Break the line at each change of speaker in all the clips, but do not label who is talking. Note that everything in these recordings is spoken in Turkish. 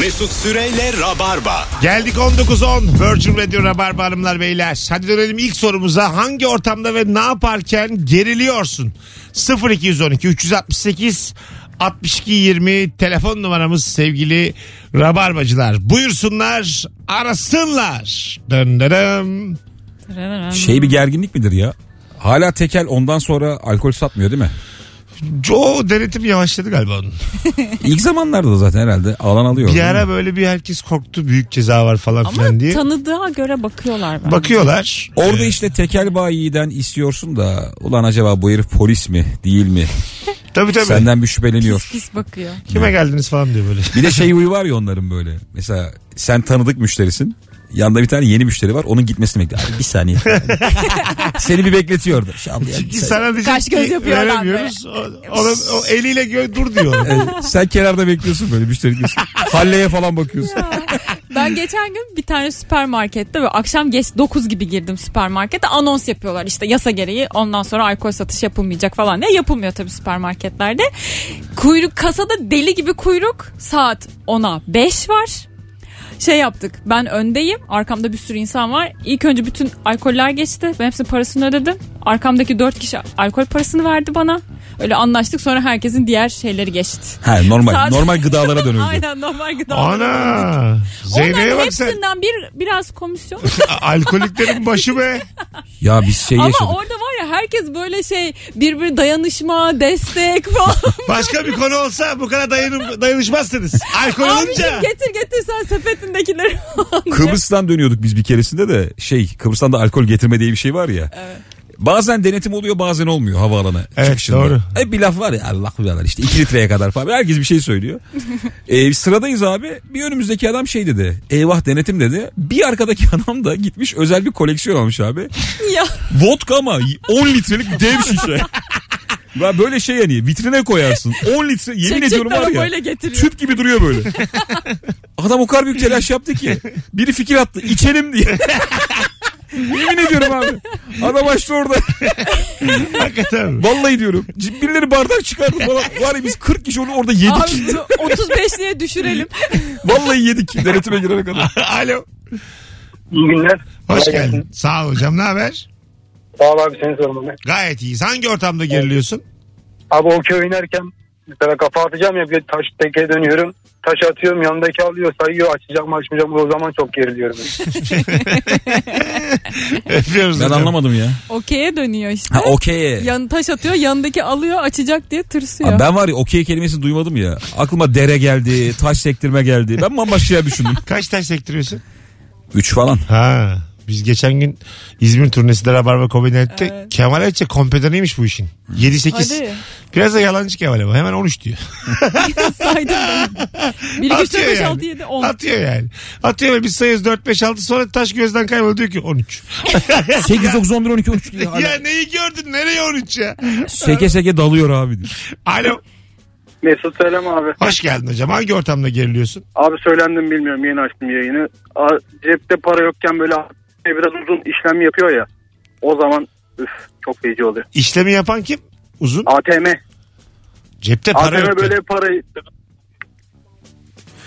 Mesut Süreyle Rabarba.
Geldik 19.10 Virgin Radio Rabarba Hanımlar Beyler. Hadi dönelim ilk sorumuza. Hangi ortamda ve ne yaparken geriliyorsun? 0212 368 62 20 telefon numaramız sevgili Rabarbacılar. Buyursunlar arasınlar. Dın dın dın.
Şey bir gerginlik midir ya? Hala tekel ondan sonra alkol satmıyor değil mi?
O denetim yavaşladı galiba onun.
İlk zamanlarda da zaten herhalde alan alıyor.
Bir
değil
ara
mi?
böyle bir herkes korktu büyük ceza var falan
Ama
filan diye.
tanıdığa göre bakıyorlar. bence.
Bakıyorlar.
Orada işte tekel bayiden istiyorsun da ulan acaba bu herif polis mi değil mi?
Tabii tabii.
Senden bir şüpheleniyor.
Pis bakıyor.
Kime geldiniz falan diyor böyle.
Bir de şey huyu var ya onların böyle. Mesela sen tanıdık müşterisin. Yanda bir tane yeni müşteri var. Onun gitmesini bekliyor. Abi bir saniye. Seni bir bekletiyordu. Şamlı ya, bir
Ki
saniye.
sana diyecek
Kaş göz
ki
yapıyor adam
veremiyoruz. O- Ona, o eliyle gö- dur diyor.
Evet, sen kenarda bekliyorsun böyle müşteri diyorsun. Halleye falan bakıyorsun.
Ben geçen gün bir tane süpermarkette ve akşam geç 9 gibi girdim süpermarkete anons yapıyorlar işte yasa gereği ondan sonra alkol satış yapılmayacak falan diye yapılmıyor tabii süpermarketlerde. Kuyruk kasada deli gibi kuyruk saat 10'a 5 var. Şey yaptık ben öndeyim arkamda bir sürü insan var İlk önce bütün alkoller geçti ben hepsinin parasını ödedim arkamdaki 4 kişi alkol parasını verdi bana öyle anlaştık sonra herkesin diğer şeyleri geçti.
Ha, normal.
Saat-
Normal gıdalara dönüldü.
Aynen normal gıdalara dönüldü.
Ana. Zeynep'e
Onların
bak sen.
hepsinden bir biraz komisyon.
A- Alkoliklerin başı be.
ya biz şey
Ama
yaşadık.
orada var ya herkes böyle şey birbiri dayanışma, destek falan.
Başka bir konu olsa bu kadar dayanım, dayanışmazsınız. Alkol olunca.
Abiciğim getir getir sen sepetindekileri falan diye.
Kıbrıs'tan dönüyorduk biz bir keresinde de şey Kıbrıs'tan da alkol getirme diye bir şey var ya. Bazen denetim oluyor bazen olmuyor havaalanı
Evet,
çıkışında.
doğru.
Hep bir laf var ya Allah bilir işte 2 litreye kadar falan herkes bir şey söylüyor. Ee, sıradayız abi bir önümüzdeki adam şey dedi eyvah denetim dedi. Bir arkadaki adam da gitmiş özel bir koleksiyon almış abi.
ya.
Vodka ama 10 litrelik dev şişe. Ben böyle şey yani vitrine koyarsın. 10 litre yemin
Çekecek
ediyorum var ya.
arabayla getiriyor.
Tüp gibi duruyor böyle. Adam o kadar büyük telaş yaptı ki. Biri fikir attı. içelim diye. Yemin ediyorum abi. Adam açtı orada.
Hakikaten.
Vallahi diyorum. C- Birileri bardak çıkardı falan. Var ya biz 40 kişi onu orada
Abi
yedik.
35'liğe düşürelim.
Vallahi yedik denetime girene kadar.
Alo.
İyi günler.
Hoş
Kolay
geldin.
gelsin.
Sağ ol hocam. Ne haber?
Sağ ol abi seni sormalı.
Gayet iyiyiz. Hangi ortamda geriliyorsun?
Abi okey oynarken mesela kafa atacağım ya bir taş teke dönüyorum. Taş atıyorum yanındaki alıyor sayıyor açacak mı açmayacak mı o zaman çok geriliyorum.
Öpüyoruz
Ben
hocam.
anlamadım ya.
Okey'e dönüyor işte.
Ha okey.
Yan taş atıyor yanındaki alıyor açacak diye tırsıyor.
Abi ben var ya okey kelimesini duymadım ya. Aklıma dere geldi, taş sektirme geldi. Ben bambaşka şeyler düşündüm.
Kaç taş sektiriyorsun?
3 falan.
Ha. Biz geçen gün İzmir turnesinde Rabarba Komedi Night'te
Evet.
Kemal Ayça kompedanıymış bu işin. 7-8.
Hadi
Biraz da yalancı Kemal ama hemen 13 diyor.
saydım ben. 1, 2, 3, 4, 5, 6, 7, 10.
Atıyor yani. Atıyor ve biz sayıyoruz 4 5 6 sonra taş gözden kayboluyor diyor ki 13.
8, 9, 11, 12, 13 diye. hala
ya neyi gördün nereye 13 ya?
Seke seke dalıyor abi diyor.
Alo.
Mesut söyleme abi.
Hoş geldin hocam. Hangi ortamda geriliyorsun?
Abi söylendim bilmiyorum yeni açtım yayını. A- Cepte para yokken böyle biraz uzun işlem yapıyor ya. O zaman üf çok feci oluyor.
İşlemi yapan kim? Uzun.
ATM.
Cepte para
ATM
yok.
böyle parayı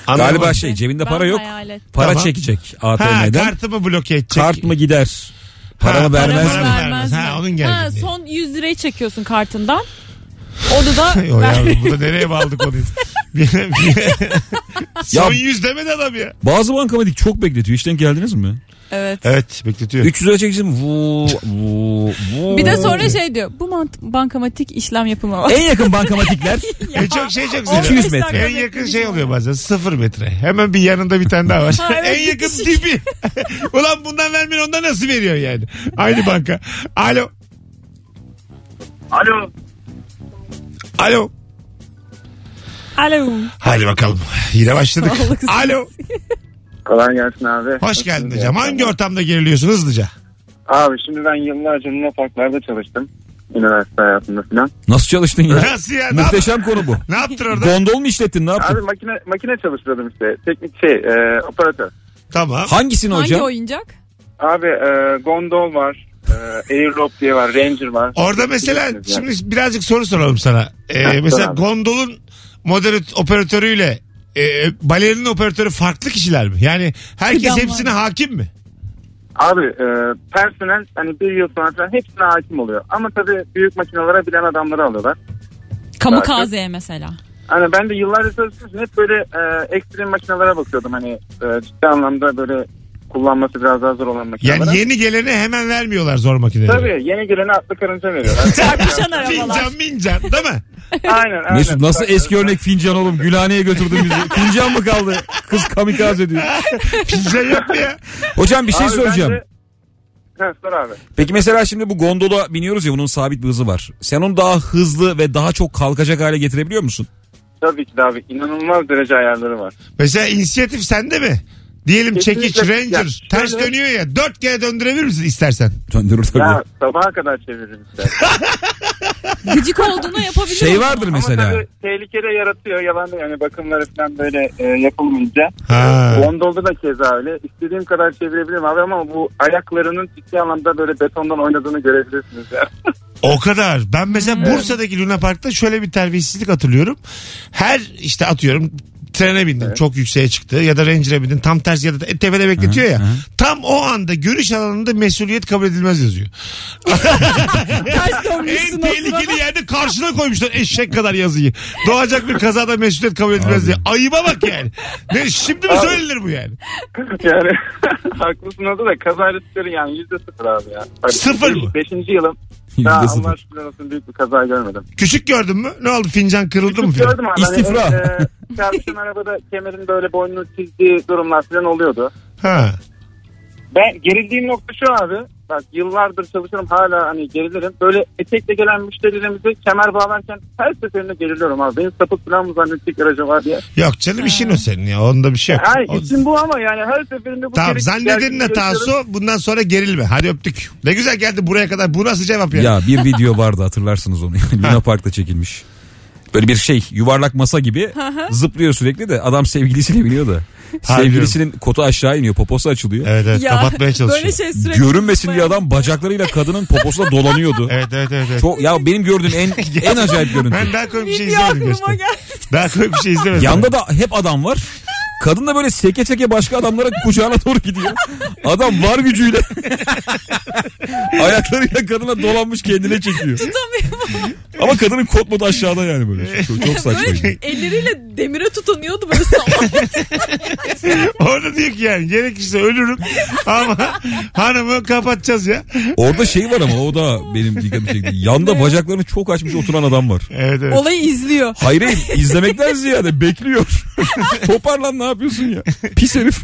Anlamadım.
Galiba şey cebinde para yok.
Hayalet.
Para
Tamam.
çekecek
Ha,
ATM'den. Kart,
kartımı bloke edecek.
mı gider? Para
Ha,
mı vermez
para
mi?
mı? vermez. Ha,
mi?
onun geldi
Ha,
diye.
son 100 lirayı çekiyorsun kartından. Onu da
Yo yavrum bu da nereye bağladı konuyu? Son
Ya-
yüz demedi adam ya.
Bazı bankamatik çok bekletiyor. İşten geldiniz mi?
evet.
Evet bekletiyor.
300 lira çekeceğim. Vuu, vuu, vuu.
Bir de sonra şey diyor. Bu mant bankamatik işlem yapılmamalı.
En yakın bankamatikler.
E, çok şey çok
On beş
güzel.
200 metre.
dakika
En
bekle
yakın
bir
şey oluyor bazen sıfır metre. Hemen bir yanında bir tane daha var.
Ha, evet,
en yakın
bitişik.
tipi. Ulan bundan vermeyin ondan nasıl veriyor yani? Aynı banka. Alo.
Alo.
Alo.
Alo.
Hadi bakalım. Yine başladık.
Sağlıksız.
Alo.
Kolay gelsin abi.
Hoş geldin hocam. Hangi ortamda geriliyorsun hızlıca?
Abi şimdi ben yıllarca Luna Parklarda çalıştım. Üniversite hayatında falan.
Nasıl çalıştın ya?
Nasıl ya? Ne, yap-
Muhteşem konu bu.
ne yaptın orada?
Gondol mu işlettin ne
Abi
yaptın?
makine makine çalıştırdım işte. Teknik şey, e, operatör.
Tamam.
Hangisini
Hangi
hocam?
oyuncak?
Abi e, gondol var. E, Airlock diye var. Ranger var.
Orada mesela
Bilirsiniz yani.
şimdi birazcık soru soralım sana. Ee,
Ha,
mesela
sor abi.
gondolun moderat operatörüyle e, balerin operatörü farklı kişiler mi? Yani herkes
Kıdemli.
hepsine hakim mi?
Abi e, personel hani bir yıl sonra falan hepsine hakim oluyor. Ama tabii büyük makinalara bilen adamları alıyorlar.
Kamu
Belki.
KZ'ye mesela.
Hani ben de yıllarca çalıştığım hep böyle e, ekstrem makinelere bakıyordum. Hani e, ciddi anlamda böyle kullanması biraz daha zor olan
Yani
makinelere.
yeni gelene hemen vermiyorlar zor makineleri.
Tabii yeni gelene atlı karınca veriyorlar.
Çarpışan arabalar.
Fincan mincan değil mi?
aynen aynen.
Mesut nasıl eski örnek fincan oğlum Gülhane'ye götürdün bizi. fincan mı kaldı? Kız kamikaze diyor.
Fincan yok mu ya?
Hocam bir şey
Abi
soracağım.
bence- Ha, sor abi.
Peki mesela şimdi bu gondola biniyoruz ya bunun sabit bir hızı var. Sen onu daha hızlı ve daha çok kalkacak hale getirebiliyor musun?
Tabii ki de abi inanılmaz derece ayarları var.
Mesela inisiyatif sende mi? Diyelim
Kesinlikle.
çekiç, ranger
Ya,
ters
şöyle-
dönüyor ya. Dört kere döndürebilir misin istersen?
Döndürür tabii.
Ya sabaha kadar çeviririz işte.
Gıcık olduğunu yapabiliyor.
şey
musun?
vardır
Ama
mesela.
tabii tehlikeli yaratıyor yalan değil. Yani bakımları falan böyle e, yapılmayınca.
Ha.
Gondolda da keza öyle. İstediğim kadar çevirebilirim abi ama bu ayaklarının ciddi anlamda böyle betondan oynadığını görebilirsiniz. Ya.
O kadar. Ben mesela Bursa'daki Luna Park'ta şöyle bir terbiyesizlik hatırlıyorum. Her işte atıyorum trene bindin çok yükseğe çıktı ya da Ranger'e bindin tam tersi ya da e, tepede bekletiyor ya. Tam o anda görüş alanında mesuliyet kabul edilmez yazıyor.
Ters dönmüşsün
En
o sırada.
tehlikeli yerde karşına koymuşlar eşek kadar yazıyı. Doğacak bir kazada mesuliyet kabul edilmez diye. Ayıba bak yani. Ne, şimdi mi söylenir bu yani?
yani haklısın orada da kaza riskleri yani yüzde sıfır abi ya. Bak,
Sıfır mı?
Beşinci yılım.
Yüzde
Daha
sıfır.
Allah aşkına olsun büyük bir kaza görmedim.
Küçük gördün mü? Ne oldu fincan kırıldı mı?
Gördüm
filan?
abi.
İstifra.
Hani, e, çarpışan arabada kemerin böyle boynunu çizdiği durumlar falan oluyordu.
Ha.
Ben gerildiğim nokta şu abi. Bak yıllardır çalışıyorum hala hani gerilirim. Böyle etekle gelen müşterilerimizi kemer bağlarken her seferinde geriliyorum abi. Benim sapık falan mı zannettik aracı var diye.
Yok canım işin o senin ya. Onda bir şey yok.
Hayır
O-
işim bu ama yani her seferinde bu
Tamam
gerek-
zannedin ne
gerginliği yaşıyorum.
Taso bundan sonra gerilme. Hadi öptük. Ne güzel geldi buraya kadar. Bu nasıl cevap ya?
Ya bir video vardı hatırlarsınız onu. Luna Park'ta çekilmiş. Böyle bir şey yuvarlak masa gibi zıplıyor sürekli de adam sevgilisiyle biniyor da.
Ha,
Sevgilisinin kotu aşağı iniyor poposu açılıyor.
Evet evet
Ya,
kapatmaya çalışıyor.
Böyle şey sürekli.
Görünmesin diye adam bacaklarıyla kadının poposuna dolanıyordu.
Evet evet evet. evet.
Çok ya benim gördüğüm en en acayip görüntü.
Ben daha komik bir şey
Video
izlemedim
aklıma
gerçekten.
geldi.
Daha komik bir şey izlemedim.
Yanda da hep adam var. Kadın da böyle seke seke başka adamlara kucağına doğru gidiyor. Adam var gücüyle ayaklarıyla kadına dolanmış kendine çekiyor. Ama kadının kot modu aşağıda yani böyle. Çok, çok saçma.
şey.
Böyle elleriyle demire tutunuyordu böyle sallan.
Orada diyor ki yani gerekirse ölürüm ama hanımı kapatacağız ya.
Orada şey var ama o da benim dikkatimi çekti. Yanda bacaklarını çok açmış oturan adam var.
Evet evet.
Olayı izliyor.
Hayır hayır, izlemekten ziyade bekliyor. Toparlan ne yapıyorsun ya? Pis herif.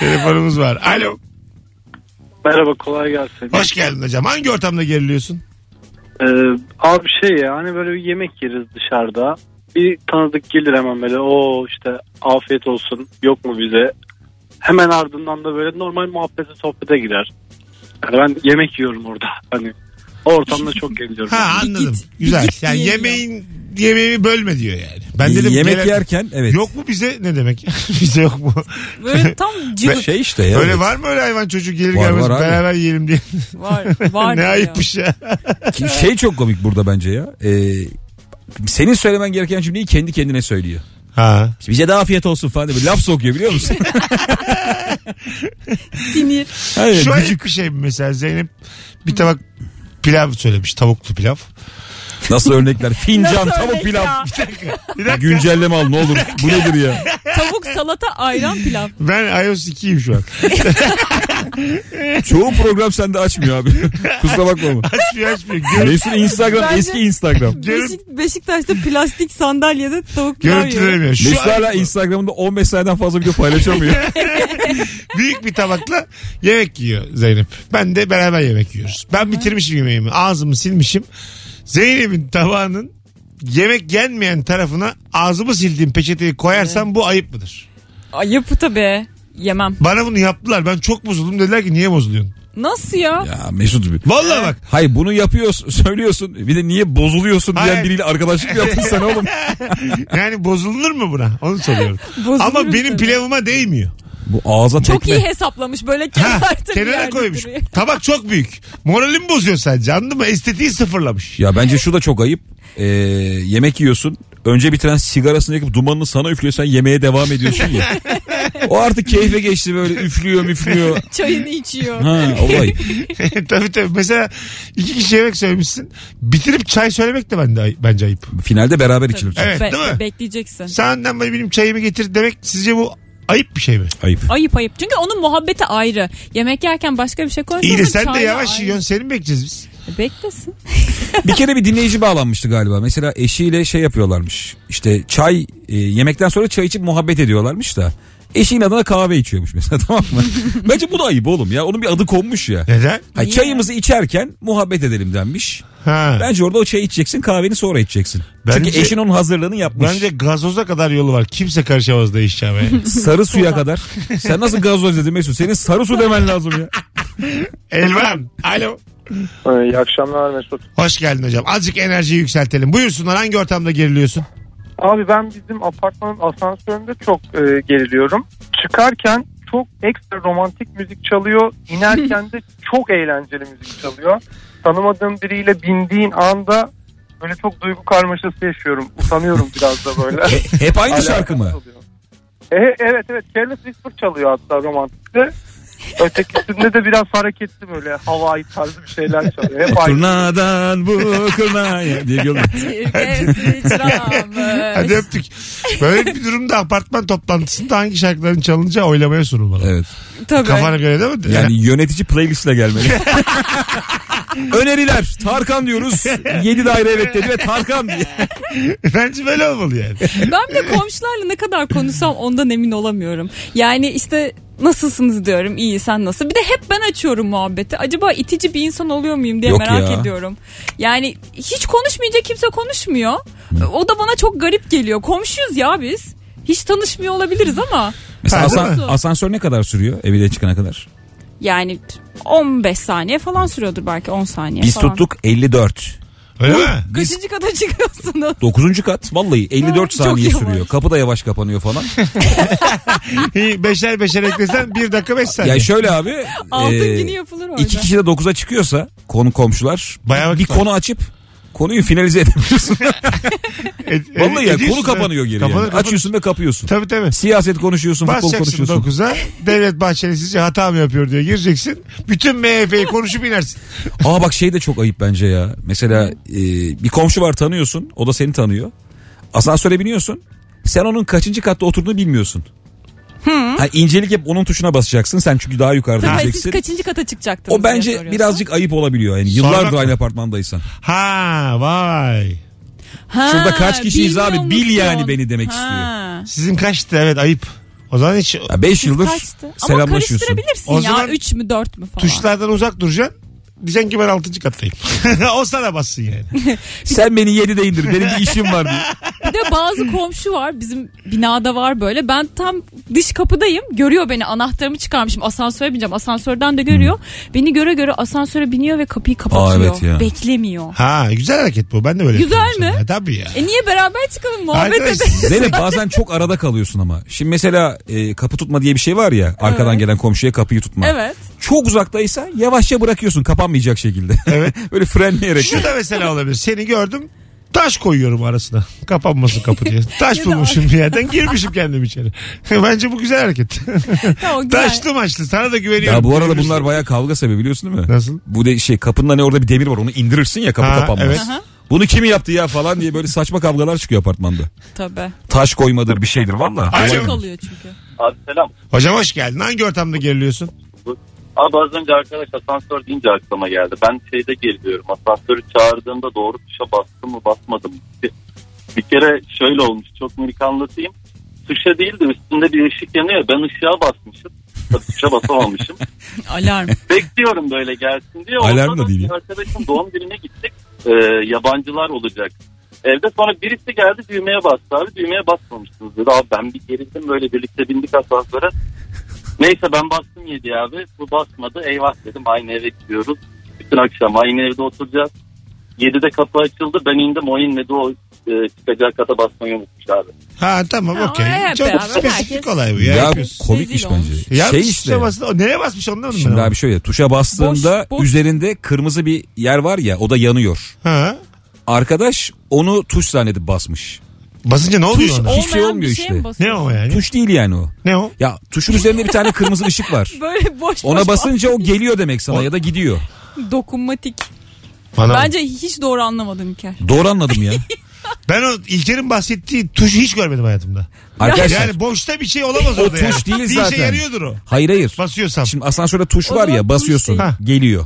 Telefonumuz var. Alo.
Merhaba kolay gelsin.
Hoş geldin hocam. Hangi ortamda geriliyorsun?
Ee, abi şey ya hani böyle bir yemek yeriz dışarıda. Bir tanıdık gelir hemen böyle o işte afiyet olsun yok mu bize? Hemen ardından da böyle normal muhabbete sohbete girer. Yani ben yemek yiyorum orada hani. O ortamda çok geliyorum.
Ha
Bir
anladım.
git, bir
Güzel.
git
Yani
diye
yemeğin yemeğimi bölme diyor yani. Ben dedim
Yemek
gelen-
yerken evet.
Yok mu bize? Ne demek? bize yok mu?
Böyle tam cıvık
Şey işte ya.
Öyle
evet.
var mı öyle hayvan çocuk gelir
Var,
gelmez
var abi.
beraber yiyelim diye.
var. var
ne şey.
diyor.
ayıpmış ya.
Ki şey çok komik burada bence ya. Ee, senin söylemen gereken cümleyi kendi kendine söylüyor.
Ha.
Bize de afiyet olsun falan diye böyle laf sokuyor biliyor musun?
Sinir.
Hayır.
Şu ayıp bir şey mi mesela Zeynep bir tabak pilav söylemiş tavuklu pilav.
Nasıl örnekler? Fincan,
Nasıl
tavuk
örnek ya?
pilav.
Bir dakika
Güncelleme al ne olur. Bu nedir ya?
Tavuk salata ayran pilav.
ben iOS 2'yim şu an.
Çoğu program sende açmıyor abi. Kusura bakma ama.
Açmıyor açmıyor. Gör-
Mesut Instagram
Bence-
eski Instagram.
Görün-
Beşik, Beşiktaş'ta plastik sandalyede tavuk pilav yiyor.
Görüntülemiyor. Şu
Mesut
an
hala Instagram'da 15 sayeden fazla video paylaşamıyor.
büyük bir tabakla yemek yiyor Zeynep. Ben de beraber yemek yiyoruz. Ben bitirmişim yemeğimi. Ağzımı silmişim. Zeynep'in tabağının yemek yenmeyen tarafına ağzımı sildiğim peçeteyi koyarsam bu ayıp mıdır?
Ayıp tabii. Yemem.
Bana bunu yaptılar. Ben çok bozuldum. Dediler ki niye bozuluyorsun?
Nasıl ya?
ya Mesut bir.
Vallahi bak.
Hayır bunu yapıyorsun, söylüyorsun. Bir de niye bozuluyorsun diyen
Hayır.
biriyle arkadaşlık yaptın sen oğlum.
Yani bozulunur mu buna? Onu soruyorum.
Bozulurum
Ama benim
tabii.
pilavıma değmiyor.
Bu ağza tekme.
Çok iyi hesaplamış böyle
Ha,
kenarda bir
kenara
yerde
koymuş.
duruyor.
Tabak çok büyük. Moralimi bozuyor sadece anladın mı? Estetiği sıfırlamış.
Ya bence şu da çok ayıp. Ee, yemek yiyorsun. önce bitiren sigarasını yakıp dumanını sana üflüyorsan yemeye devam ediyorsun ya. o artık keyfe geçti böyle üflüyor müflüyor.
Çayını içiyor.
Ha olay.
tabii tabii. Mesela iki kişi yemek söylemişsin. Bitirip çay söylemek de bende, bence ayıp.
Finalde beraber içilir.
Evet
Be-
değil mi?
bekleyeceksin.
Sen önden böyle benim çayımı getir demek sizce bu ayıp bir şey mi?
Ayıp.
Ayıp ayıp. Çünkü onun muhabbeti ayrı. Yemek yerken başka bir şey konuşuyorsun.
İyi de sen de
çayla
yavaş
ayrı.
yiyorsun seni mi bekleyeceğiz biz?
Beklesin.
Bir kere bir dinleyici bağlanmıştı galiba. Mesela eşiyle şey yapıyorlarmış. İşte çay e, yemekten sonra çay içip muhabbet ediyorlarmış da. Eşinin adına kahve içiyormuş mesela tamam mı? Bence bu da ayıp oğlum ya. Onun bir adı konmuş ya.
Neden?
Hayır,
Niye?
çayımızı içerken muhabbet edelim denmiş.
Ha.
Bence orada o çayı içeceksin kahveni sonra içeceksin. Çünkü
Bence-
eşin onun hazırlığını yapmış.
Bence gazoza kadar yolu var. Kimse karışamaz değişeceğime.
Sarı suya kadar. Sen nasıl gazoz dedin Mesut? Senin sarı su demen lazım ya.
Elvan. Alo.
iyi akşamlar Mesut.
Hoş geldin hocam. Azıcık enerjiyi yükseltelim. Buyursunlar hangi ortamda geriliyorsun?
Abi ben bizim apartmanın asansöründe çok e, geriliyorum. Çıkarken çok ekstra romantik müzik çalıyor. İnerken de çok eğlenceli müzik çalıyor. Tanımadığım biriyle bindiğin anda böyle çok duygu karmaşası yaşıyorum. Utanıyorum biraz da böyle.
He- Hep aynı E, şarkı mı?
Alakasız oluyor. E, evet evet Careless Whisper çalıyor hatta romantikte. Ötekisinde de biraz hareketli böyle havai tarzı bir şeyler çalıyor.
E,
Hep aynı.
Turnadan bu kurnaya diye gönder.
Sirkesi
Hadi
çırağımız.
öptük. Böyle bir durumda apartman toplantısında hangi şarkıların çalınacağı oylamaya sunulmalı.
Evet.
Tabii.
Kafana göre değil mi?
Yani yönetici playlistle gelmeli. Öneriler. Tarkan diyoruz. 7 daire evet dedi ve Tarkan diye.
Bence böyle olmalı yani.
Ben bir de komşularla ne kadar konuşsam ondan emin olamıyorum. Yani işte nasılsınız diyorum iyi sen nasıl bir de hep ben açıyorum muhabbeti acaba itici bir insan oluyor muyum diye
Yok
merak
ya.
ediyorum yani hiç konuşmayınca kimse konuşmuyor o da bana çok garip geliyor komşuyuz ya biz hiç tanışmıyor olabiliriz ama
Mesela
Ha, değil
asan-
mi?
asansör ne kadar sürüyor evine çıkana kadar?
yani 15 saniye falan sürüyordur belki 10 saniye
Biz
falan.
tuttuk 54.
Öyle mi?
Kaçıncı kata çıkıyorsunuz?
9. kat vallahi 54
Çok
saniye
yavaş.
sürüyor. Kapı da yavaş kapanıyor falan.
İyi, beşer beşer eklesen bir dakika beş saniye.
ya şöyle abi.
Altın
e,
günü yapılır orada.
İki kişi de 9'a çıkıyorsa konu komşular
Bayağı vakit
bir
var.
konu açıp konuyu finalize edemiyorsun.
E- e-
Vallahi ya
ediyorsun
konu
ha.
kapanıyor geri.
Kapanır,
yani.
kapanır.
Açıyorsun ve kapıyorsun.
Tabii tabii.
Siyaset konuşuyorsun, futbol
Basacaksın
konuşuyorsun.
9'a. Devlet Bahçeli sizce hata mı yapıyor diye gireceksin. Bütün MHP'yi konuşup inersin.
Aa bak şey de çok ayıp bence ya. Mesela e, bir komşu var tanıyorsun. O da seni tanıyor. Asansöre biniyorsun. Sen onun kaçıncı katta oturduğunu bilmiyorsun. Ha, incelik hep onun tuşuna basacaksın. Sen çünkü daha yukarıda
Hmm. Tabii siz
ineceksin.
kaçıncı kata çıkacaktınız?
O
diye
bence
soruyorsun.
birazcık ayıp olabiliyor. Yani yıllardır
Sonra-
aynı apartmandaysan.
Ha vay.
Ha,
Şurada kaç kişiyiz abi?
bilmiyor
Bil yani
musun?
beni demek
Sizin kaçtı evet ayıp. O zaman hiç
Ya beş yıldır
Kaçtı? Ama
selamlaşıyorsun.
karıştırabilirsin
O
ya.
zaman
3 mü 4 mü falan.
tuşlardan uzak duracaksın. Diyeceksin ki ben 6. kattayım. o sana bassın yani.
Sen beni yedi de indir. Benim bir işim var diye.
Bir de bazı komşu var. Bizim binada var böyle. Ben tam dış kapıdayım. Görüyor beni. Anahtarımı çıkarmışım. Asansöre bineceğim. Asansörden de görüyor. Beni göre göre asansöre biniyor ve kapıyı kapatıyor.
Hmm. evet ya.
Beklemiyor.
Ha güzel hareket bu. Ben de böyle
Güzel
yapıyorum
mi?
sana. Ya, tabii ya.
E niye beraber çıkalım muhabbet
Arkadaş,
edelim.
Zeynep bazen çok arada kalıyorsun ama. Şimdi mesela e, kapı tutma diye bir şey var ya. Arkadan
Evet.
gelen komşuya kapıyı tutma.
Evet.
Çok uzaktaysa yavaşça bırakıyorsun kapanmayacak şekilde.
Evet.
Böyle frenleyerek.
Şu da mesela olabilir. Seni gördüm taş koyuyorum arasına. Kapanmasın kapı diye. Taş
Ya da-
bulmuşum bir yerden girmişim kendim içeri. Bence bu güzel hareket.
Tamam, güzel.
Taşlı maçlı sana da güveniyorum.
Ya bu arada
Girebilirsin.
bunlar bayağı kavga sebebi biliyorsun değil mi?
Nasıl?
Bu de şey kapının hani orada bir demir var onu indirirsin ya kapı
Ha,
kapanmaz.
evet.
Bunu kim yaptı ya falan diye böyle saçma kavgalar çıkıyor apartmanda.
Tabii.
Taş koymadır bir şeydir valla.
Çok
Alo.
oluyor çünkü.
Abi selam.
Hocam hoş geldin. Hangi ortamda geriliyorsun?
Abi az önce arkadaş asansör deyince aklıma geldi. Ben şeyde geliyorum. Asansörü çağırdığımda doğru tuşa bastım mı basmadım mı? Bir, bir kere şöyle olmuş. Çok minik anlatayım. Tuşa değil de üstünde bir ışık yanıyor. Ben ışığa basmışım. Tabii tuşa basamamışım.
Alarm.
Bekliyorum böyle gelsin diye.
Alarm
Ondan
da değil
bir
ya.
Arkadaşım doğum gününe gittik. Ee, yabancılar olacak. Evde sonra birisi geldi düğmeye bastı abi. Düğmeye basmamışsınız dedi. Abi ben bir gerildim böyle birlikte bindik asansöre. Neyse ben bastım yedi abi. Bu basmadı. Eyvah dedim aynı eve gidiyoruz. Bütün akşam aynı evde oturacağız. 7'de kapı açıldı. Ben indim o inmedi. O e, çıkacağı kata basmayı unutmuş abi.
Ha tamam
Ha,
okey.
hep
Çok
beraber
spesifik
herkes-
olay bu ya.
Ya,
Ya,
bu komikmiş
Rezil olmuş.
bence. şey işte.
tuşa bastı- O nereye basmış anlamadım ben.
Şimdi
ama.
abi şöyle tuşa bastığında
Boş, boş.
üzerinde kırmızı bir yer var ya o da yanıyor.
Ha.
Arkadaş onu tuş zannedip basmış.
Basınca ne oluyor ona?
Tuş o-
Olmayan
Hiçbir şey olmuyor
bir şeye
işte.
mi basıyorsun?
Ne o yani?
Tuş değil yani o.
Ne o?
Ya tuşun üzerinde bir tane kırmızı ışık var.
Böyle boş boş
Ona basınca o geliyor demek sana ya da gidiyor.
dokunmatik.
Bana
Bence hiç doğru anlamadın İlker.
Doğru anladım ya.
Ben o İlker'in bahsettiği tuşu hiç görmedim hayatımda.
Arkadaşlar
Yani boşta bir şey olamaz
o
orada yani.
tuş değil
bir
zaten.
işe yarıyordur o.
Hayır hayır.
Basıyorsam.
Şimdi asansörde tuş
O
var
zaman
ya
tuş
basıyorsun
değil.
geliyor.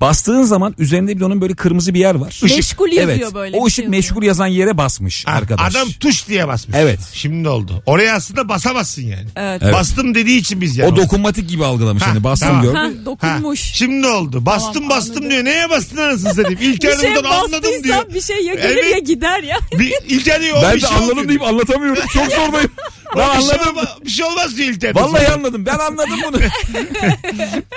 Bastığın zaman üzerinde bir de onun böyle kırmızı bir yer var.
Meşgul yazıyor
evet.
böyle.
O
bir
ışık
şey yazıyor.
meşgul yazan yere basmış
Ha,
arkadaş.
Adam tuş diye basmış.
Evet.
Şimdi oldu. Oraya aslında basamazsın yani.
Evet.
Evet.
Bastım dediği için biz yani.
o dokunmatik gibi algılamış
Ha,
hani bastım
tamam.
gördü.
Ha,
Ha,
dokunmuş.
şimdi oldu. Bastım
Tamam,
bastım
anladım.
diyor. Neye bastın anasını satayım? İlker
bir şey
buradan anladım diyor.
bastıysa bir şey ya gelir
Evet.
ya gider ya.
Bir, İlker diyor o
Ben
bir
de
şey
anladım
olmuyor.
deyip anlatamıyorum. Çok zordayım.
O
Ben
bir şey,
anladım.
olma- bir şey olmaz diyor İlker.
Vallahi anladım. Ben anladım bunu.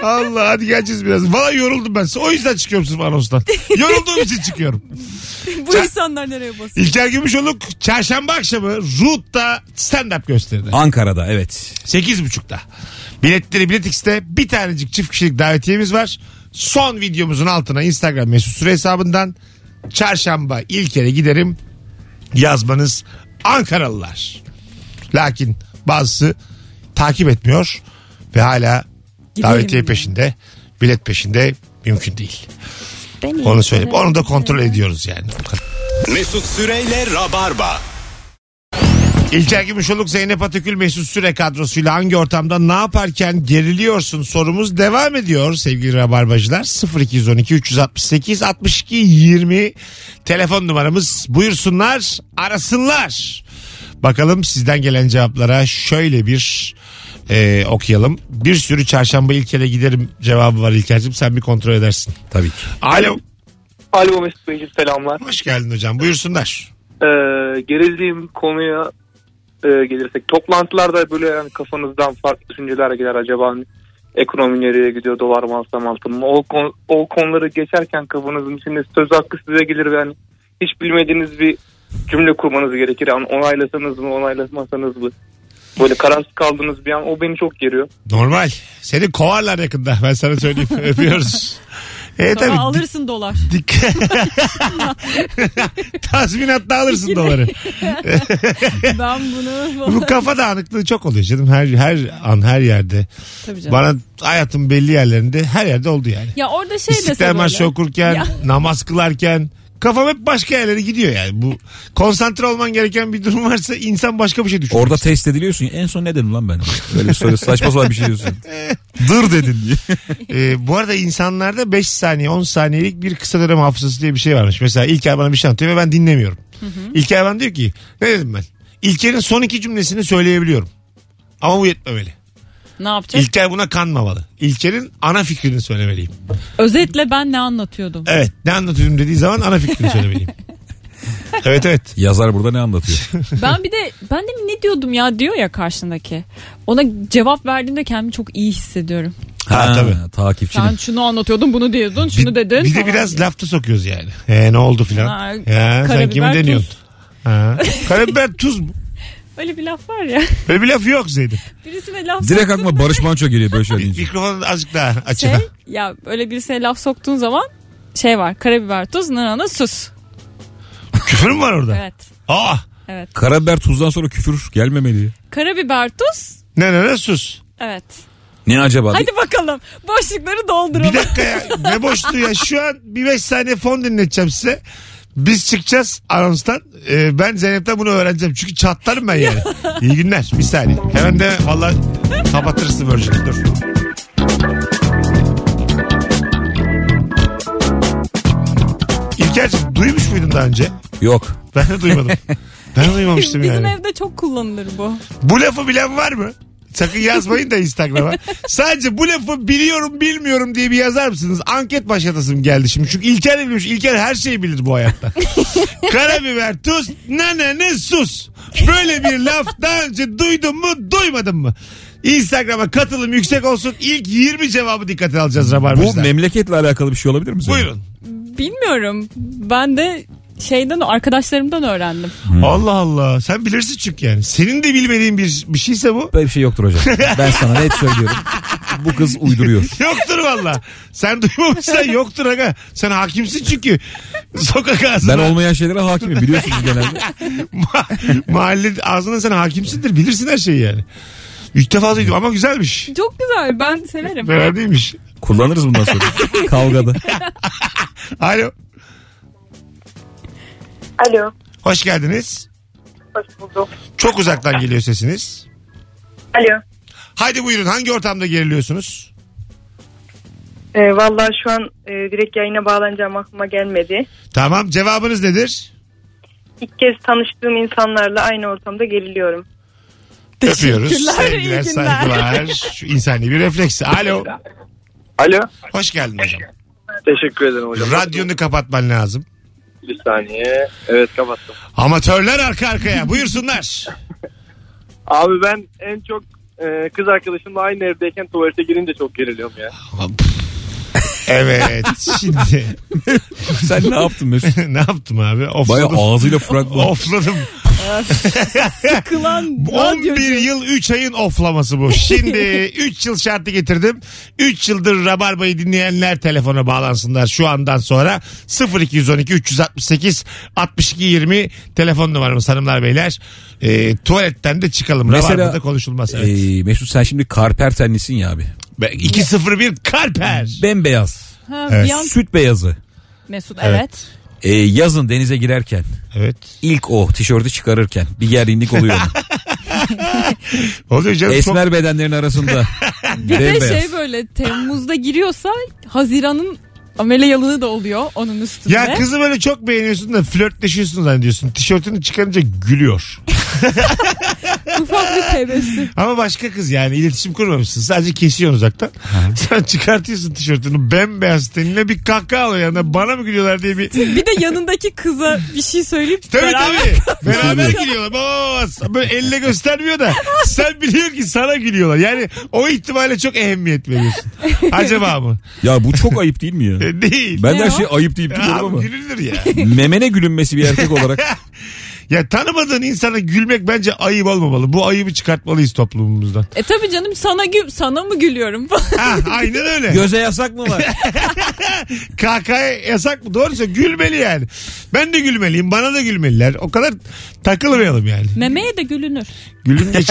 Allah hadi geleceğiz biraz. Valla yoruldum ben. O yüzden çıkıyorum sırf anonstan. Yorulduğum için çıkıyorum.
Bu insanlar nereye basıyor?
İlker Gümüşoluk çarşamba akşamı Root'ta stand-up gösterdi.
Ankara'da evet.
8.30'da. Biletleri Bilet X'te bir tanecik çift kişilik davetiyemiz var. Son videomuzun altına Instagram mesut süre hesabından çarşamba İlker'e giderim yazmanız Ankaralılar. Lakin bazısı takip etmiyor ve hala
Gidelim
davetiye
ya.
peşinde, bilet peşinde mümkün değil. Onu söyleyeyim. Onu da kontrol ediyoruz yani.
Mesut Süreyle Rabarba.
İlker Gümüşoluk, Zeynep Atakül, Mesut Süre kadrosuyla hangi ortamda ne yaparken geriliyorsun sorumuz devam ediyor sevgili Rabarbacılar. 0212 368 62 20 telefon numaramız buyursunlar arasınlar. Bakalım sizden gelen cevaplara şöyle bir e, okuyalım. Bir sürü çarşamba İlker'e giderim cevabı var İlker'cim sen bir kontrol edersin.
Tabii ki.
Alo
Alo Mesut Beyciğim selamlar.
hoş geldin hocam buyursunlar.
Ee, gerildiğim konuya e, gelirsek toplantılarda böyle yani kafanızdan farklı düşünceler gelir acaba ekonomi nereye gidiyor dolar mı alsam altın mı o, kon- o konuları geçerken kafanızın içinde söz hakkı size gelir ve yani hiç bilmediğiniz bir cümle kurmanız gerekir yani onaylasanız mı onaylamazsanız mı böyle kararsız kaldığınız bir an o beni çok geriyor.
Normal seni kovarlar yakında ben sana söyleyeyim öpüyoruz. E,
Sonra
tabii,
alırsın dolar.
Dikkat. Tazminatla alırsın doları.
Ben bunu...
Bu kafa dağınıklığı çok oluyor canım. Her her an her yerde.
Tabii canım.
Bana hayatın belli yerlerinde her yerde oldu yani.
Ya orada şey dese
İstiklal
böyle.
Marşı okurken,
Ya.
namaz kılarken kafam hep başka yerlere gidiyor yani. Bu konsantre olman gereken bir durum varsa insan başka bir şey düşünür.
Orada test ediliyorsun. ya, En son ne dedim lan ben? Böyle bir soru saçma sapan bir şey diyorsun. Dur dedin diye.
Ee, bu arada insanlarda 5 saniye 10 saniyelik bir kısa dönem hafızası diye bir şey varmış. Mesela İlker bana bir şey anlatıyor ve ben dinlemiyorum. İlker bana diyor ki ne dedim ben? İlker'in son iki cümlesini söyleyebiliyorum. Ama bu yetmemeli.
Ne yapacak?
İlker buna kanmamalı. İlker'in ana fikrini söylemeliyim.
Özetle ben ne anlatıyordum?
Evet ne anlatıyorum dediği zaman ana fikrini söylemeliyim. evet evet.
Yazar burada ne anlatıyor?
Ben bir de ben de ne diyordum ya diyor ya karşındaki. Ona cevap verdiğimde kendimi çok iyi hissediyorum.
Ha, tabii.
Takipçinin.
Sen şunu anlatıyordun, bunu diyordun, şunu dedin.
Bir de
falan
biraz
diye.
lafta sokuyoruz yani. Ee, ne oldu filan.
Ha,
Ya sen
karabiber,
kimi
tuz.
deniyorsun? Ha. Karabiber tuz mu?
Öyle bir laf var ya.
Böyle bir laf yok Zeynep.
Birisine laf
Direkt
soktun
aklıma Barış Manço geliyor böyle şey deyince.
Mikrofonu azıcık daha aç.
şey,
ha.
ya öyle birisine laf soktuğun zaman şey var. Karabiber, tuz, nanana, sus.
Küfür mü var orada?
Evet.
Aa.
Evet.
Karabiber tuzdan sonra küfür gelmemeli.
Karabiber, tuz.
Ne ne ne sus.
Evet.
Ne acaba?
Hadi bakalım. Boşlukları dolduralım.
Bir dakika ya. Ne boşluğu ya. Şu an bir beş saniye fon dinleteceğim size. Biz çıkacağız anonstan. Ee, ben Zeynep'ten bunu öğreneceğim. Çünkü çatlarım ben yani. İyi günler. Bir saniye. Hemen de valla kapatırsın Virgin'i. Dur. İlker'cim duymuş muydun daha önce?
Yok.
Ben de duymadım. Ben duymamıştım
Bizim
yani.
evde çok kullanılır bu.
Bu lafı bilen var mı? Sakın yazmayın da Instagram'a. Sadece bu lafı biliyorum bilmiyorum diye bir yazar mısınız? Anket başlatasım geldi şimdi. Çünkü İlker de bilmiş. İlker her şeyi bilir bu hayatta. Karabiber, tuz, nane, ne sus. Böyle bir laf daha önce duydun mu duymadın mı? Instagram'a katılım yüksek olsun. İlk 20 cevabı dikkate alacağız
Bu
Rabarbacılar.
memleketle alakalı bir şey olabilir mi? senin?
Buyurun.
Bilmiyorum. Ben de şeyden arkadaşlarımdan öğrendim.
Allah Allah. Sen bilirsin çünkü yani. Senin de bilmediğin bir, bir şeyse bu.
Böyle bir şey yoktur hocam. Ben sana net söylüyorum. bu kız uyduruyor.
Yoktur valla. Sen duymamışsan yoktur aga. Sen hakimsin çünkü. Sokak
Ben
ağzına.
olmayan şeylere hakimim biliyorsunuz genelde.
ma- mahalle ağzına sen hakimsindir. Bilirsin her şeyi yani. İlk defa duydum ama güzelmiş.
Çok güzel ben severim.
Beraber değilmiş.
Kullanırız bundan sonra kavgada.
Alo.
Alo.
Hoş geldiniz.
Hoş bulduk.
Çok uzaktan geliyor sesiniz.
Alo.
Haydi buyurun hangi ortamda geriliyorsunuz?
Ee, Valla şu an e, direkt yayına bağlanacağım aklıma gelmedi.
Tamam cevabınız nedir?
İlk kez tanıştığım insanlarla aynı ortamda geriliyorum.
Öpüyoruz.
iyi
Sevgiler
günler.
saygılar. Şu insani bir refleks. Alo.
Alo.
Hoş geldin hocam.
Teşekkür ederim hocam.
Radyonu kapatman lazım.
Bir saniye. Evet kapattım.
Amatörler arka arkaya buyursunlar.
Abi ben en çok e, kız arkadaşımla aynı evdeyken tuvalete girince çok geriliyorum ya.
Evet şimdi
Sen ne yaptın Mesut?
ne yaptım abi?
Baya
Ofladım.
ağzıyla fragman.
Ofladım.
Kılan
11 yıl 3 ayın oflaması bu. Şimdi 3 yıl şartı getirdim. 3 yıldır Rabarba'yı dinleyenler telefona bağlansınlar şu andan sonra. 0212 368 62 20 telefon numaramız hanımlar beyler. Ee, tuvaletten de çıkalım.
Mesela-
Rabarba'da konuşulmaz. Evet.
Ee, Mesut sen şimdi karper tenlisin ya abi.
Be- 201 Karper.
Bembeyaz.
Ha,
Evet.
bir an
Süt beyazı.
Mesut evet.
Ee, yazın denize girerken
Evet.
ilk o tişörtü çıkarırken bir gerginlik oluyor. onun.
Oluyor canım çok
Esmer bedenlerin arasında.
Bir de
Bembeyaz.
şey böyle Temmuz'da giriyorsa Haziran'ın ameliyalığı da oluyor onun üstünde.
ya kızı böyle çok beğeniyorsun da flörtleşiyorsun zannediyorsun. Tişörtünü çıkarınca gülüyor.
Ufak bir tebessüm.
Ama başka kız yani iletişim kurmamışsın. Sadece kesiyorsun uzaktan. Sen çıkartıyorsun tişörtünü bembeyaz tenine bir kahkaha oluyor yanında. Bana mı gülüyorlar diye bir...
Bir de yanındaki kıza bir şey söyleyip
Tabii
beraber
tabii. Beraber gülüyorlar. Baba, böyle elle göstermiyor da sen biliyor ki sana gülüyorlar. Yani o ihtimale çok ehemmiyet veriyorsun. Acaba mı?
ya bu çok ayıp değil mi ya?
E, Değil.
Ben
Ne
de her
o?
şey ayıp deyip
Ya,
duruyorum ama.
gülünür ya.
Memene gülünmesi bir erkek olarak.
Ya tanımadığın insana gülmek bence ayıp olmamalı. Bu ayıbı çıkartmalıyız toplumumuzdan.
E tabii canım sana gül sana mı gülüyorum falan.
Ha, aynen öyle.
Göze yasak mı var?
Kahkaha yasak mı? Doğru söylüyorsun. Gülmeli yani. Ben de gülmeliyim. Bana da gülmeliler. O kadar takılmayalım yani.
Memeye de gülünür.
Gülün geç.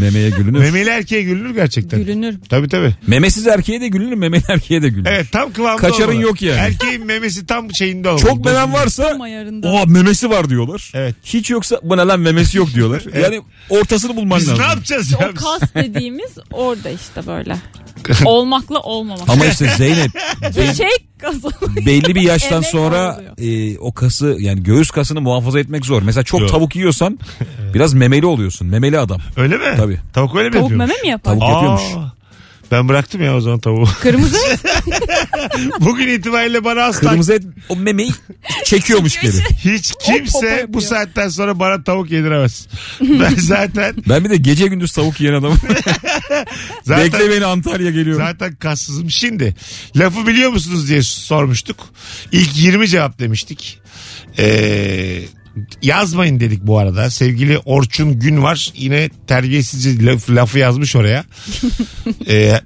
Memeye gülünür.
Memeli erkeğe gülünür gerçekten.
Gülünür.
Tabii tabii.
Memesiz erkeğe de gülünür, memeli erkeğe de gülünür.
Evet tam kıvamda
Kaçarın
olmalı.
yok yani.
Erkeğin memesi tam şeyinde olmalı.
Çok memen varsa
Tam ayarında.
oha memesi var diyorlar.
Evet.
Hiç yoksa bu ne lan memesi yok diyorlar. Yani ortasını bulman
Biz
lazım.
ne yapacağız ya?
O kas dediğimiz orada işte böyle. Olmakla olmamak.
Ama işte Zeynep
şey kas
belli bir yaştan
Emek
sonra e, o kası yani göğüs kasını muhafaza etmek zor. Mesela çok
Yok.
tavuk yiyorsan biraz memeli oluyorsun. Memeli adam.
Öyle mi?
Tabii.
Tavuk öyle mi
Tavuk
yapıyormuş?
meme mi yapar?
Tavuk yapıyormuş.
Aa, ben bıraktım ya o zaman tavuğu.
Kırmızı
Bugün itibariyle bana asla
Kırmızı et o memeyi çekiyormuş geri.
hiç
popo
kimse
yapıyor.
bu saatten sonra bana tavuk yediremez. Ben zaten
Ben bir de gece gündüz tavuk yiyen adamım.
zaten
Bekle beni Antalya geliyorum.
Zaten kassızım. Şimdi lafı biliyor musunuz diye sormuştuk. İlk 20 cevap demiştik. Ee, yazmayın dedik bu arada. Sevgili Orçun Gün var. Yine terbiyesizce laf- lafı yazmış oraya. Ee,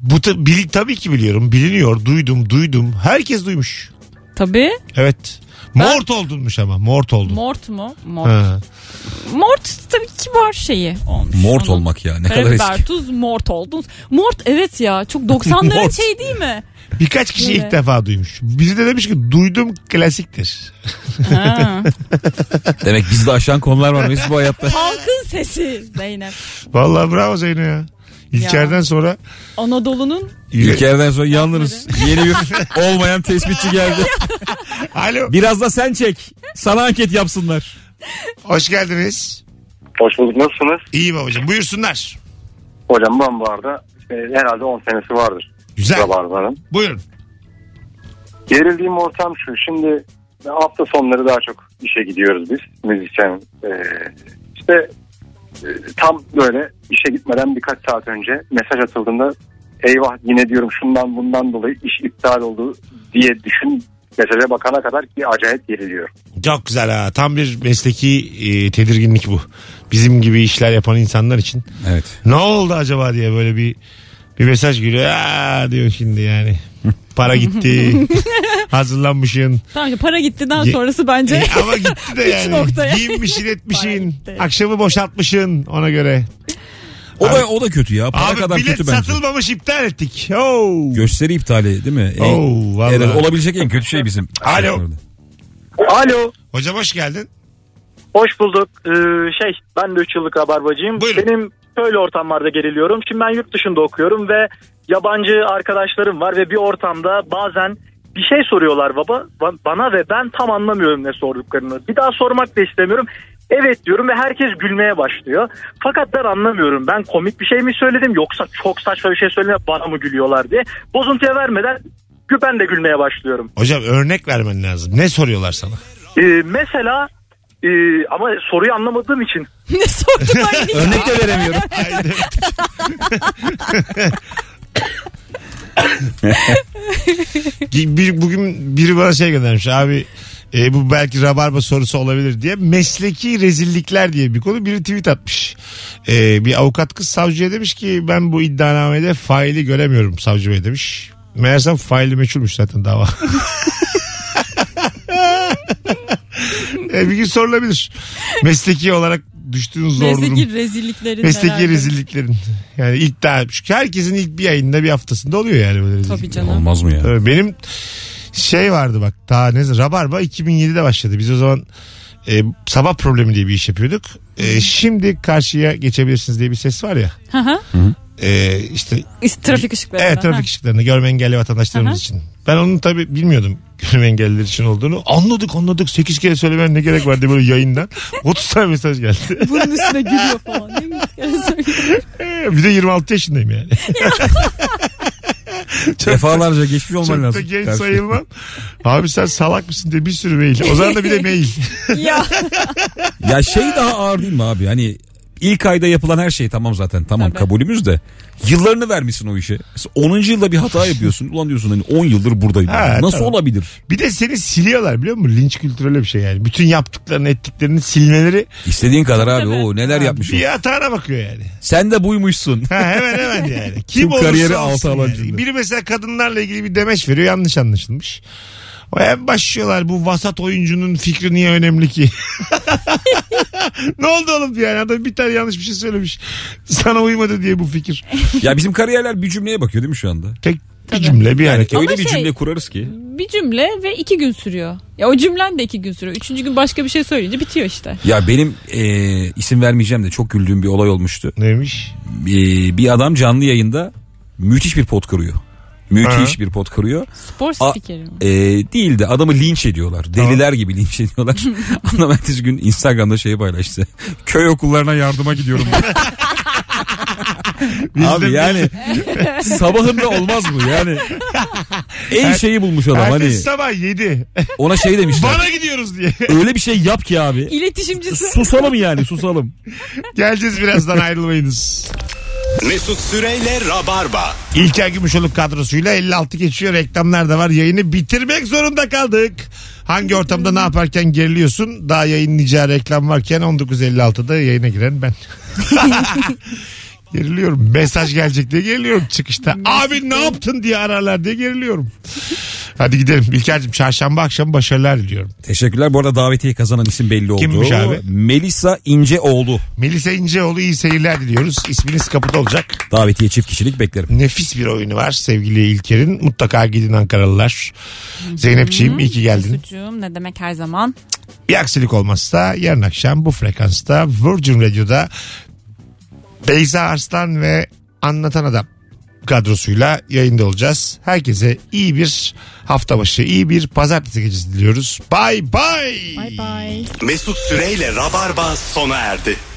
bu ta- bili- tabii ki biliyorum. Biliniyor. Duydum duydum. Herkes duymuş.
Tabii.
Evet. Mort oldunmuş ama. Mort oldun.
Mort mu? Mort.
Ha.
Mort tabii kibar şeyi olmuş.
Mort
Onun-
olmak ya ne kadar eski.
Karabiber, tuz, mort oldunuz. Mort evet ya çok 90'ların
Mort.
şey değil mi?
Birkaç kişi
Evet.
ilk defa duymuş. Biri de demiş ki duydum klasiktir.
Ha.
Demek bizde aşan konular var Mesut bu hayatta.
Halkın sesi Zeynep.
Vallahi bravo Zeyno ya. İlker'den sonra
Anadolu'nun
İlk yerden sonra yalnız yeni bir olmayan tespitçi geldi.
Alo
Biraz da sen çek. Sana anket yapsınlar.
hoş geldiniz.
Hoş bulduk. Nasılsınız?
İyi babacığım buyursunlar.
Hocam ben bu arada e, herhalde 10 senesi vardır.
Güzel.
Rabarbanın.
Buyurun.
Gerildiğim ortam şu. Şimdi hafta sonları daha çok işe gidiyoruz biz. Müzisyen. e, işte e, tam böyle işe gitmeden birkaç saat önce mesaj atıldığında eyvah yine diyorum şundan bundan dolayı iş iptal oldu diye düşün mesaja bakana kadar ki acayip geriliyorum.
Çok güzel ha. Tam bir mesleki e, tedirginlik bu. Bizim gibi işler yapan insanlar için.
Evet.
Ne oldu acaba diye böyle bir Bir mesaj geliyor. Aa diyor şimdi yani. Para gitti. Hazırlanmışsın.
Tamam işte para gittiğinden
Ye-
sonrası bence.
E, ama gitti de
Üç
yani.
noktaya.
Giyinmişsin etmişsin.
gitti.
Akşamı boşaltmışsın ona göre.
O da o da kötü ya. Para
Abi
kadar
bilet
kötü bence.
satılmamış iptal ettik. Oo.
Gösteri iptali değil mi? En-
Oo, vallahi.
herhalde olabilecek en kötü şey bizim.
Alo.
Alo.
Hocam hoş geldin.
Hoş bulduk. Ee, şey ben de 3 yıllık rabarbacıyım.
Buyurun.
Benim şöyle ortamlarda geriliyorum. Şimdi ben yurt dışında okuyorum ve yabancı arkadaşlarım var ve bir ortamda bazen bir şey soruyorlar baba ba- bana ve ben tam anlamıyorum ne sorduklarını. Bir daha sormak da istemiyorum. Evet diyorum ve herkes gülmeye başlıyor. Fakat ben anlamıyorum. Ben komik bir şey mi söyledim yoksa çok saçma bir şey söyledim bana mı gülüyorlar diye. Bozuntuya vermeden gü- ben de gülmeye başlıyorum.
Hocam örnek vermen lazım. Ne soruyorlar sana?
Ee, mesela e, ama soruyu anlamadığım için
ne sordum ben hiç.
Örnek de veremiyorum.
Aynen. Bir, bugün biri bana şey göndermiş abi e, bu belki rabarba sorusu olabilir diye mesleki rezillikler diye bir konu biri tweet atmış. E, bir avukat kız savcıya demiş ki ben bu iddianamede faili göremiyorum savcı bey demiş. Meğersem faili meçhulmüş zaten dava. E, bir gün sorulabilir. Mesleki olarak düştüğünüz zor durum.
Mesleki rezilliklerin
Mesleki
herhalde.
rezilliklerin. Yani ilk daha çünkü herkesin ilk bir ayında bir haftasında oluyor yani böyle rezillik.
Tabii canım.
Olmaz mı ya?
Evet, Ee, Benim şey vardı bak daha ne Rabarba 2007'de başladı. Biz o zaman e, sabah problemi diye bir iş yapıyorduk. E, şimdi karşıya geçebilirsiniz diye bir ses var ya.
Hı hı.
E, işte
Trafik ışıkları.
evet trafik ışıklarında görme engelli vatandaşlarımız
Aha.
için. Ben onu tabii bilmiyordum görme engelliler için olduğunu. Anladık anladık 8 kere söylemen ne gerek var diye böyle yayından 30 tane mesaj geldi.
Bunun üstüne gülüyor falan. Ne güzel söylüyor.
bir de 26 yaşındayım yani.
Defalarca geçmiş olman
Çok da
lazım.
genç
Karşı.
sayılmam. Abi sen salak mısın diye bir sürü mail. O zaman da bir de mail.
ya.
Ya şey daha ağır değil mi abi? Hani ilk ayda yapılan her şey tamam zaten tamam
Tabii.
kabulümüz de yıllarını vermişsin o işe. Mesela 10. yılda bir hata yapıyorsun. Ulan diyorsun hani 10 yıldır buradayım.
Ha,
Nasıl
tamam.
olabilir?
Bir de seni siliyorlar biliyor musun? Linç kültürü öyle bir şey yani. Bütün yaptıklarını ettiklerini silmeleri
İstediğin kadar abi
Tabii.
o neler yapmışsın.
bir hatana bakıyor yani.
Sen de buymuşsun.
Ha, hemen hemen yani. Kim
Tüm
olursa
kariyeri
olsun
altı alan
yani.
cümle.
Biri mesela kadınlarla ilgili bir demeç veriyor yanlış anlaşılmış. O hem başlıyorlar bu vasat oyuncunun fikri niye önemli ki? ne oldu oğlum yani adam bir tane yanlış bir şey söylemiş. Sana uymadı diye bu fikir.
ya bizim kariyerler bir cümleye bakıyor değil mi şu anda?
Tek bir cümle bir
Yani
hareket.
öyle
Ama
bir
şey-
cümle kurarız ki.
Bir cümle ve iki gün sürüyor. Ya o cümlen de iki gün sürüyor. Üçüncü gün başka bir şey söyleyince bitiyor işte.
Ya benim eee, isim vermeyeceğim de çok güldüğüm bir olay olmuştu.
Neymiş?
Eee, bir adam canlı yayında müthiş bir pot kırıyor. Müthiş
Ha.
bir pot kırıyor.
Spor
A-
spikeri mi?
Ee, değil de adamı linç ediyorlar. Deliler gibi linç ediyorlar. Adam ertesi gün Instagram'da şeyi paylaştı. Köy okullarına yardıma gidiyorum. Abi yani sabahında olmaz mı yani? En şeyi bulmuş adam hani
Ertesi sabah 7.
ona şey demişler.
Bana gidiyoruz diye.
Öyle bir şey yap ki abi.
İletişimcisi.
Susalım yani susalım.
Geleceğiz birazdan ayrılmayınız.
Mesut Süreyle Rabarba.
İlker Gümüşoluk kadrosuyla 56 geçiyor. Reklamlar da var. Yayını bitirmek zorunda kaldık. Hangi ortamda ne yaparken geriliyorsun? Daha yayınlayacağı reklam varken 19.56'da yayına giren ben. geriliyorum. Mesaj gelecek diye geriliyorum çıkışta. Abi ne yaptın diye ararlar diye geriliyorum. Hadi gidelim. İlker'cim çarşamba akşamı başarılar diliyorum.
Teşekkürler. Bu arada davetiye kazanan isim belli oldu.
Kimmiş abi?
Melisa İnceoğlu.
Melisa İnceoğlu iyi seyirler diliyoruz. İsminiz kapıda olacak.
Davetiye çift kişilik beklerim.
Nefis bir oyunu var sevgili İlker'in. Mutlaka gidin Ankaralılar. Zeynepçiğim iyi ki geldin.
Sucuğum ne demek her zaman.
Bir aksilik olmazsa yarın akşam bu frekansta Virgin Radio'da Beyza Arslan ve Anlatan Adam kadrosuyla yayında olacağız. Herkese iyi bir hafta başı, iyi bir pazartesi gecesi diliyoruz. Bay bay.
Bay bay.
Mesut Süreyle Rabarba sona erdi.